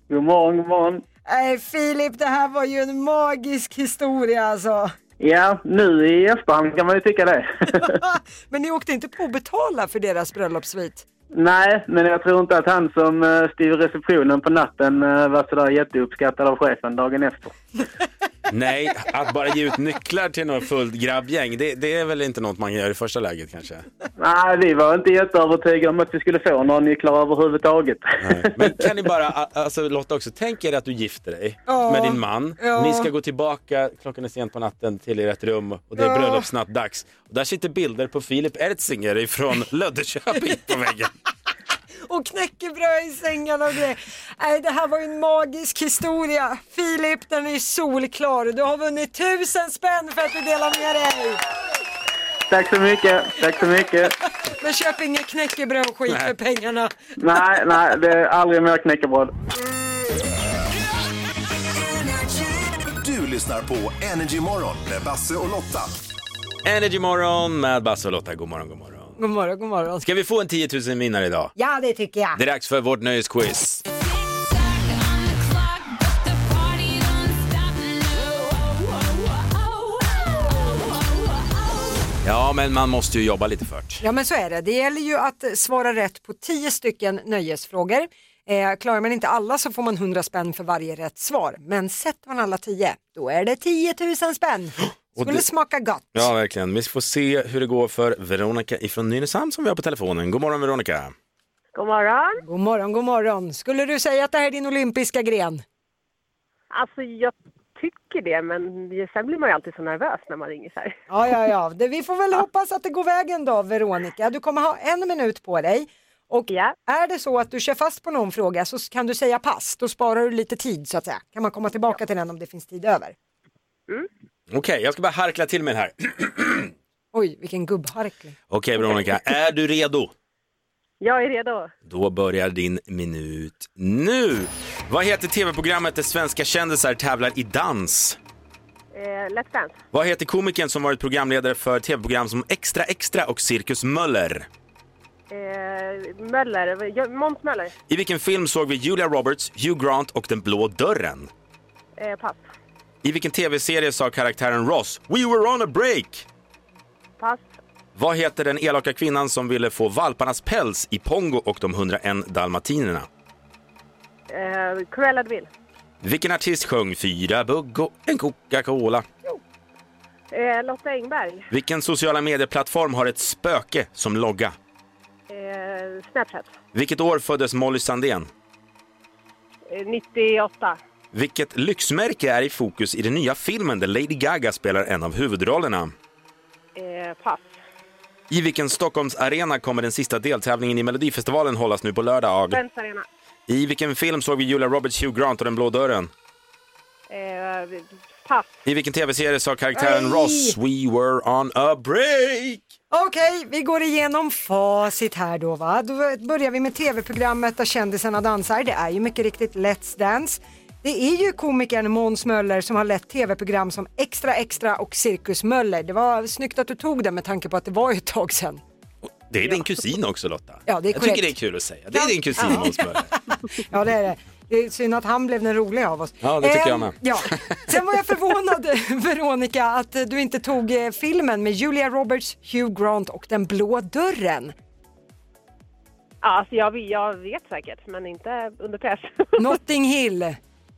[SPEAKER 15] God morgon, god morgon.
[SPEAKER 5] Nej Filip, det här var ju en magisk historia alltså.
[SPEAKER 15] Ja, nu i efterhand kan man ju tycka
[SPEAKER 4] [LAUGHS]
[SPEAKER 15] det.
[SPEAKER 5] [LAUGHS] Men ni åkte inte på att betala för deras bröllopssvit?
[SPEAKER 15] Nej, men jag tror inte att han som eh, styr receptionen på natten eh, var sådär jätteuppskattad av chefen dagen efter.
[SPEAKER 4] Nej, att bara ge ut nycklar till några fullt grabbgäng, det, det är väl inte något man gör i första läget kanske?
[SPEAKER 15] Nej, vi var inte jätteövertygade om att vi skulle få några nycklar överhuvudtaget.
[SPEAKER 4] Men kan ni bara, a- alltså Lotta också, tänk er att du gifter dig
[SPEAKER 15] Ja.
[SPEAKER 4] med din man.
[SPEAKER 15] Ja.
[SPEAKER 4] Ni ska gå tillbaka, klockan är sent på natten, till ert rum och det är
[SPEAKER 15] Ja.
[SPEAKER 4] bröllopsnattdags. Och där sitter bilder på Filip
[SPEAKER 15] [LAUGHS]
[SPEAKER 4] Erzinger från Löddeköping på väggen.
[SPEAKER 5] och knäckebröd i sängarna och grejer. Nej, det här var ju en magisk historia. Filip, den är solklar. Du har vunnit tusen spänn för att du delar med dig.
[SPEAKER 15] [LAUGHS] Tack så mycket, tack så mycket.
[SPEAKER 5] Men köp inget knäckebröd och skit
[SPEAKER 15] Nej.
[SPEAKER 5] för pengarna.
[SPEAKER 15] Nej, nej, det är aldrig mer knäckebröd.
[SPEAKER 13] Du lyssnar på Energy Morgon med Basse och Lotta.
[SPEAKER 4] Energy morgon med Basse och Lotta, god morgon, god morgon.
[SPEAKER 5] God morgon, god morgon.
[SPEAKER 4] Ska vi få en 10 000 vinnare idag?
[SPEAKER 5] Ja, det tycker jag.
[SPEAKER 4] Det är dags för vårt nöjesquiz. Ja, men man måste ju jobba lite fört.
[SPEAKER 5] Ja men så är det. Det gäller ju att svara rätt på 10 stycken nöjesfrågor. Eh, klarar man inte alla så får man 100 spänn för varje rätt svar. Men sätter man alla 10, då är det 10 000
[SPEAKER 4] [GASPS]
[SPEAKER 5] spänn. Skulle
[SPEAKER 4] det-
[SPEAKER 5] smaka gott.
[SPEAKER 4] Ja, verkligen. Vi får se hur det går för Veronica ifrån Nynäshamn som vi har på telefonen. God morgon Veronica.
[SPEAKER 5] God morgon. God morgon, god morgon. Skulle du säga att det här är din olympiska gren?
[SPEAKER 18] Alltså jag tycker det, men sen blir man ju alltid så nervös när man ringer så här.
[SPEAKER 5] Ja, ja, ja. Det, vi får väl hoppas att det går vägen då, Veronica. Du kommer ha en minut på dig. Och är det så att du kör fast på någon fråga så kan du säga pass. Då sparar du lite tid så att säga. Kan man komma tillbaka till den om det finns tid över.
[SPEAKER 4] Okej, jag ska bara harkla till mig den här. [CLEARS THROAT] Okej
[SPEAKER 5] Oj, vilken gubbharkling.
[SPEAKER 4] Veronica, är du redo?
[SPEAKER 18] Jag är redo.
[SPEAKER 4] Då börjar din minut nu. Vad heter tv-programmet där svenska kändisar tävlar i dans?
[SPEAKER 18] Eh, let's dance.
[SPEAKER 4] Vad heter komikern som varit programledare för tv-program som Extra Extra och Cirkus Möller?
[SPEAKER 18] Eh, Möller, ja, Måns Möller.
[SPEAKER 4] I vilken film såg vi Julia Roberts, Hugh Grant och Den blå dörren?
[SPEAKER 18] Eh, pass.
[SPEAKER 4] I vilken tv-serie sa karaktären Ross “We were on a break”?
[SPEAKER 18] Pass.
[SPEAKER 4] Vad heter den elaka kvinnan som ville få valparnas päls i Pongo och de 101 dalmatinerna?
[SPEAKER 18] Eh, Cruella de Vil.
[SPEAKER 4] Vilken artist sjöng Fyra bugg och en Coca-Cola?
[SPEAKER 18] Eh, Lotta Engberg.
[SPEAKER 4] Vilken sociala medieplattform har ett spöke som logga?
[SPEAKER 18] Eh, Snapchat.
[SPEAKER 4] Vilket år föddes Molly Sandén?
[SPEAKER 18] Eh, 98.
[SPEAKER 4] Vilket lyxmärke är i fokus i den nya filmen där Lady Gaga spelar en av huvudrollerna?
[SPEAKER 18] Eh, pass.
[SPEAKER 4] I vilken Stockholmsarena kommer den sista deltävlingen i Melodifestivalen hållas nu på lördag?
[SPEAKER 18] Friends Arena.
[SPEAKER 4] I vilken film såg vi Julia Roberts, Hugh Grant och Den blå dörren?
[SPEAKER 18] Eh, pass.
[SPEAKER 4] I vilken tv-serie sa karaktären
[SPEAKER 5] Nej!
[SPEAKER 4] Ross “We were on a break”?
[SPEAKER 5] Okej, vi går igenom facit här då va. Då börjar vi med tv-programmet där kändisarna dansar. Det är ju mycket riktigt Let's Dance. Det är ju komikern Måns Möller som har lett tv-program som Extra Extra och Cirkus Möller. Det var snyggt att du tog det med tanke på att det var ju ett tag sedan.
[SPEAKER 4] Det är din kusin också Lotta.
[SPEAKER 5] Ja, det är
[SPEAKER 4] Jag tycker
[SPEAKER 5] korrekt.
[SPEAKER 4] det är kul att säga. Det är din kusin
[SPEAKER 5] Ja.
[SPEAKER 4] Måns Möller.
[SPEAKER 5] Ja det är det. Det är synd att han blev den roliga av oss.
[SPEAKER 4] Ja, det tycker
[SPEAKER 5] Ehm,
[SPEAKER 4] jag med.
[SPEAKER 5] Ja. Sen var jag förvånad [LAUGHS] Veronica att eh, du inte tog eh, filmen med Julia Roberts, Hugh Grant och Den blå dörren.
[SPEAKER 18] Ja, alltså jag, jag vet säkert, men inte under press. [LAUGHS]
[SPEAKER 5] Notting Hill.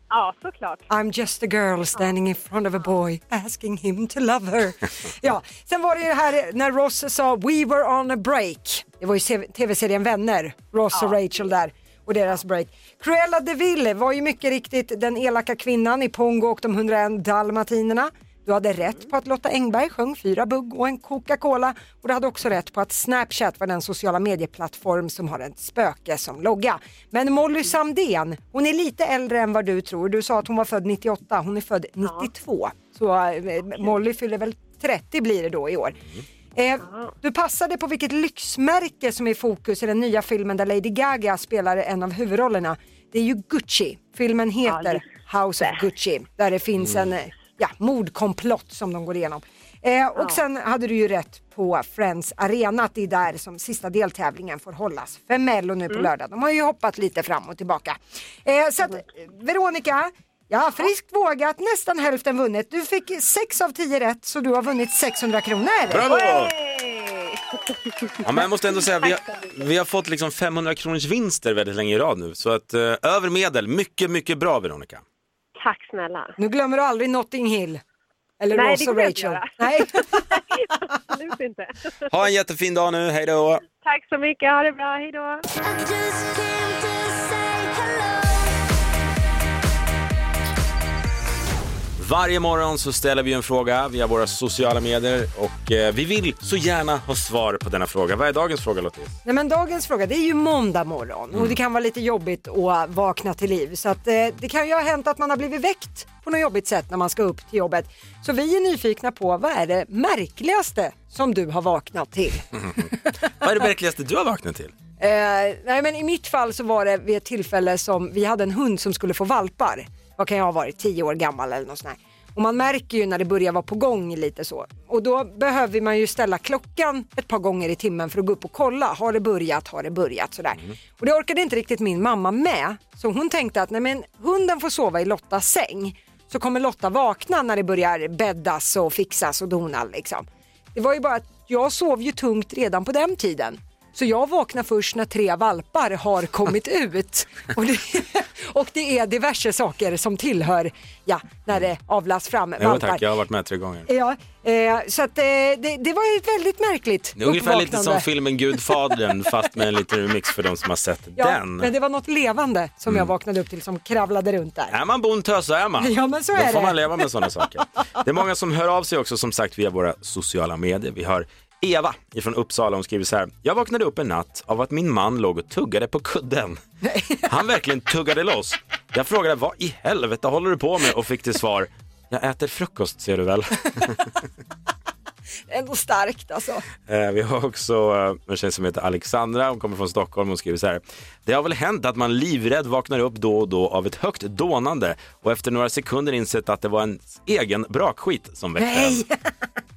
[SPEAKER 18] ja, såklart.
[SPEAKER 5] I'm just a girl standing in front of a boy asking him to love her. Ja, sen var det ju det här när Ross sa We were on a break. Det var ju se- tv-serien Vänner, Ross och Rachel där och deras break. Cruella de Ville var ju mycket riktigt den elaka kvinnan i Pongo och de 101 dalmatinerna. Du hade rätt på att Lotta Engberg sjöng fyra bugg och en Coca-Cola och du hade också rätt på att Snapchat var den sociala medieplattform som har ett spöke som logga. Men Molly Sandén, hon är lite äldre än vad du tror. Du sa att hon var född 98, hon är född 92. Så eh, Molly fyller väl 30 blir det då i år. Eh, du passade på vilket lyxmärke som är i fokus i den nya filmen där Lady Gaga spelar en av huvudrollerna. Det är ju Gucci. Filmen heter House of Gucci där det finns en eh, ja, mordkomplott som de går igenom. Eh, och sen hade du ju rätt på Friends Arena att det är där som sista deltävlingen får hållas för Mello nu på
[SPEAKER 18] Mm.
[SPEAKER 5] lördag. De har ju hoppat lite fram och tillbaka. Eh, så att, eh, Veronica, jag har friskt vågat, nästan hälften vunnit. Du fick 6 av 10 rätt så du har vunnit 600 kronor.
[SPEAKER 4] Bravo! Ja, men jag måste ändå säga, vi har, vi har fått liksom 500 kronors vinster väldigt länge i rad nu. Så att eh, över medel, mycket, mycket bra Veronica.
[SPEAKER 18] Tack snälla.
[SPEAKER 5] Nu glömmer du aldrig Notting Hill. Eller
[SPEAKER 18] Nej,
[SPEAKER 5] Ross
[SPEAKER 18] det
[SPEAKER 5] och
[SPEAKER 18] kommer jag inte
[SPEAKER 5] Rachel.
[SPEAKER 18] göra.
[SPEAKER 5] Nej,
[SPEAKER 18] [LAUGHS] absolut inte.
[SPEAKER 4] Ha en jättefin dag nu, hej då!
[SPEAKER 18] Tack så mycket, ha det bra, hej då.
[SPEAKER 4] Varje morgon så ställer vi en fråga via våra sociala medier och eh, vi vill så gärna ha svar på denna fråga. Vad är dagens fråga Lottis?
[SPEAKER 5] Nej, men dagens fråga, det är ju måndag morgon och det kan vara lite jobbigt att vakna till liv. Så att, eh, det kan ju ha hänt att man har blivit väckt på något jobbigt sätt när man ska upp till jobbet. Så vi är nyfikna på vad är det märkligaste som du har vaknat till?
[SPEAKER 4] Vad är det verkligaste du har vaknat till?
[SPEAKER 5] Eh, nej men i mitt fall så var det vid ett tillfälle som vi hade en hund som skulle få valpar. Vad kan jag ha varit, 10 år gammal eller något sånt här. Och man märker ju när det börjar vara på gång lite så. Och då behöver man ju ställa klockan ett par gånger i timmen för att gå upp och kolla. Har det börjat? Har det börjat? Sådär. Och det orkade inte riktigt min mamma med. Så hon tänkte att nej men hunden får sova i Lottas säng. Så kommer Lotta vakna när det börjar bäddas och fixas och dona liksom. Det var ju bara att jag sov ju tungt redan på den tiden. Så jag vaknar först när tre valpar har
[SPEAKER 4] [LAUGHS]
[SPEAKER 5] kommit ut. Och det, [LAUGHS] och det är diverse saker som tillhör, ja, när det avlas fram
[SPEAKER 4] Jo
[SPEAKER 5] valpar.
[SPEAKER 4] tack, jag har varit med tre gånger.
[SPEAKER 5] Ja, eh, så att, eh, det, det var ju ett väldigt märkligt
[SPEAKER 4] Det är ungefär lite som
[SPEAKER 5] uppvaknande.
[SPEAKER 4] filmen Gudfadern fast med en liten remix för de som har sett
[SPEAKER 5] Ja,
[SPEAKER 4] den. Mm.
[SPEAKER 5] men det var något levande som jag vaknade upp till som kravlade runt där.
[SPEAKER 4] Är man bondtös så är man.
[SPEAKER 5] Ja, men så
[SPEAKER 4] Då
[SPEAKER 5] är
[SPEAKER 4] får
[SPEAKER 5] det.
[SPEAKER 4] man leva med sådana saker. Det är många som hör av sig också som sagt via våra sociala medier. Vi har Eva ifrån Uppsala, hon skriver så här. Jag vaknade upp en natt av att min man låg och tuggade på kudden. Han verkligen tuggade loss. Jag frågade vad i helvete håller du på med och fick till svar jag äter frukost ser du väl.
[SPEAKER 5] Ändå starkt alltså.
[SPEAKER 4] Eh, Vi har också eh, en tjej som heter Alexandra, hon kommer från Stockholm och skriver så här. Det har väl hänt att man livrädd vaknar upp då och då av ett högt dånande och efter några sekunder insett att det var en egen brakskit som väckte
[SPEAKER 5] Nej.
[SPEAKER 4] en.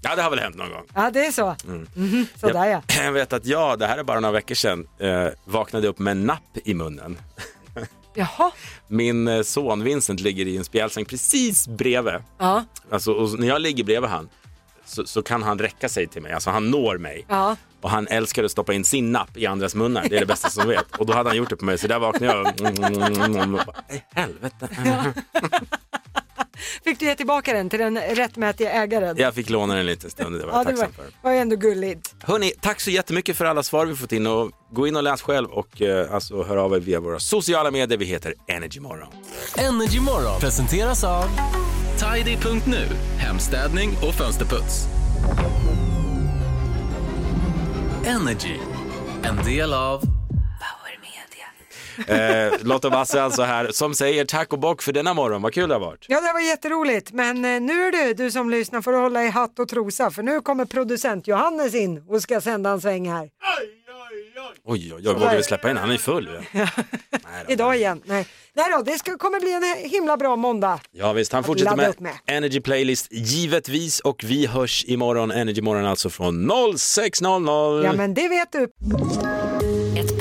[SPEAKER 4] Ja, det har väl hänt någon gång.
[SPEAKER 5] Ja, det är så.
[SPEAKER 4] Mm.
[SPEAKER 5] Mhm, sådär ja.
[SPEAKER 4] Jag vet att jag, det här är bara några veckor sedan, eh, vaknade upp med en napp i munnen. [LAUGHS]
[SPEAKER 5] Jaha.
[SPEAKER 4] Min eh, son Vincent ligger i en spjälsäng precis bredvid.
[SPEAKER 5] Ja.
[SPEAKER 4] Alltså, och när jag ligger bredvid han så, så kan han räcka sig till mig, alltså han når mig.
[SPEAKER 5] Ja.
[SPEAKER 4] Och han älskar att stoppa in sin napp i andras munnar,
[SPEAKER 5] [LAUGHS]
[SPEAKER 4] det är det bästa som vet. Och då hade han gjort det på mig, så där vaknade jag. Mm, och bara, "Nej, Helvete.
[SPEAKER 5] Fick du ge tillbaka den till den rättmätiga ägaren?
[SPEAKER 4] Jag fick låna den en liten stund, det var
[SPEAKER 5] Ja,
[SPEAKER 4] jag
[SPEAKER 5] det var,
[SPEAKER 4] tacksam för.
[SPEAKER 5] var ju ändå gulligt.
[SPEAKER 4] Hörni, tack så jättemycket för alla svar vi fått in och gå in och läs själv och eh, alltså, hör av er via våra sociala medier. Vi heter Energymorgon.
[SPEAKER 19] Energy Morgon presenteras av Tidy.nu, hemstädning och fönsterputs. Energy, en del av
[SPEAKER 4] Eh, Lotta och Basse alltså här som säger tack och bock för denna morgon, vad kul det har varit.
[SPEAKER 5] Ja, det var jätteroligt. Men eh, nu du, du som lyssnar får hålla i hatt och trosa för nu kommer producent Johannes in och ska sända en sväng här.
[SPEAKER 4] Oj, oj, oj, vågar vi släppa in? Han är full. Ja,
[SPEAKER 5] Idag igen. Nej, Nej då, det ska, kommer bli en himla bra måndag.
[SPEAKER 4] ja visst, han
[SPEAKER 5] Att
[SPEAKER 4] fortsätter
[SPEAKER 5] ladda
[SPEAKER 4] med,
[SPEAKER 5] upp med.
[SPEAKER 4] Energy Playlist givetvis och vi hörs imorgon, Energy Morgon alltså från 06.00.
[SPEAKER 5] Ja, men det vet du.
[SPEAKER 14] Ett